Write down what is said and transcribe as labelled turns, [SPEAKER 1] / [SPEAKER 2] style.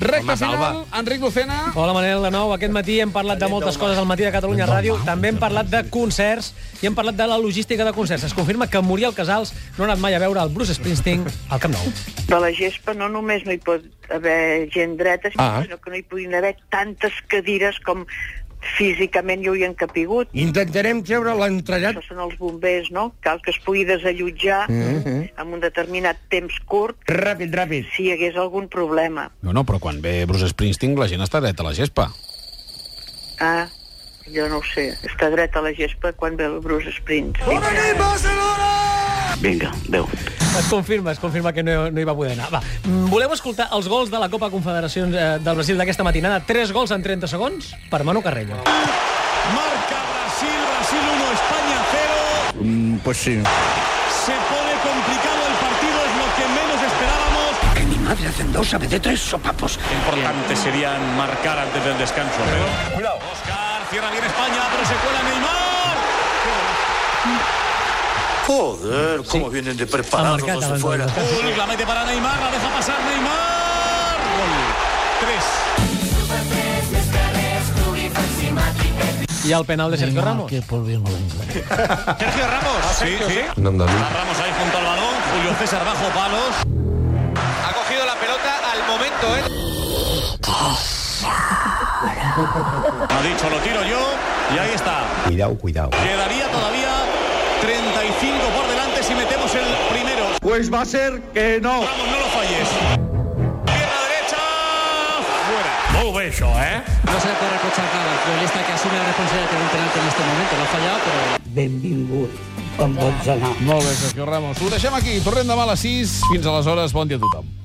[SPEAKER 1] Recta
[SPEAKER 2] Home,
[SPEAKER 1] final,
[SPEAKER 2] salva.
[SPEAKER 1] Enric Lucena.
[SPEAKER 3] Hola, Manel, de nou. Aquest matí hem parlat de moltes coses al matí de Catalunya Ràdio. També hem parlat de concerts i hem parlat de la logística de concerts. Es confirma que Muriel Casals no ha anat mai a veure el Bruce Springsteen al Camp Nou.
[SPEAKER 4] De la gespa no només no hi pot haver gent dreta,
[SPEAKER 2] Ah.
[SPEAKER 4] sinó que no hi podien haver tantes cadires com físicament hi haurien capigut.
[SPEAKER 2] Intentarem treure l'entrellat.
[SPEAKER 4] Això són els bombers, no? Cal que es pugui desallotjar amb un determinat temps curt
[SPEAKER 2] Mhm. Ràpid, ràpid.
[SPEAKER 4] si hi hagués algun problema.
[SPEAKER 5] No, no, però quan ve Bruce Springsteen la gent està dreta a la gespa.
[SPEAKER 4] Ah, jo no ho sé. Està dreta a la gespa quan ve el Bruce Springsteen.
[SPEAKER 6] Vinga, adeu.
[SPEAKER 3] Es confirma, es confirma que no, no hi va poder anar. Va, mm, voleu escoltar els gols de la Copa Confederacions eh, del Brasil d'aquesta matinada? Tres gols en 30 segons per Manu Carreño.
[SPEAKER 7] Marca Brasil, Brasil 1, España 0.
[SPEAKER 2] pues sí.
[SPEAKER 7] Se pone complicado el partido, es lo que menos esperábamos.
[SPEAKER 6] Que mi madre hacen dos de tres sopapos.
[SPEAKER 7] Importante serían marcar antes del descanso. ¿eh? Pero... Cuidado. Oscar cierra bien España, pero se cuela Neymar.
[SPEAKER 8] Joder, cómo vienen de
[SPEAKER 3] Ha
[SPEAKER 8] preparados
[SPEAKER 3] marcat
[SPEAKER 8] los de
[SPEAKER 3] abans del
[SPEAKER 8] fuera.
[SPEAKER 3] descans.
[SPEAKER 7] Hulk la mete para Neymar, la deja pasar Neymar. Gol. Tres.
[SPEAKER 3] I el penal de Sergio Ramos.
[SPEAKER 7] Sergio Ramos. sí, sí. Va ¿eh? Ramos ahí junto al balón. Julio César bajo palos.
[SPEAKER 9] Ha cogido la pelota al momento, ¿eh?
[SPEAKER 7] Ha dicho, lo tiro yo. Y ahí está.
[SPEAKER 2] Cuidao, cuidao.
[SPEAKER 7] Quedaría todavía 35 por delante si metemos el primero.
[SPEAKER 2] Pues va a ser que no.
[SPEAKER 7] Ramos, no lo falles. Pierna derecha. Fuera. Muy bé, això, eh?
[SPEAKER 10] No se le puede reprochar nada al futbolista que asume la responsabilidad de tener un penalti en este momento. Lo ha fallado, pero...
[SPEAKER 1] Molt bé, Sergio Ramos. Ho deixem aquí. Tornem demà a les 6. Fins aleshores, bon dia a tothom.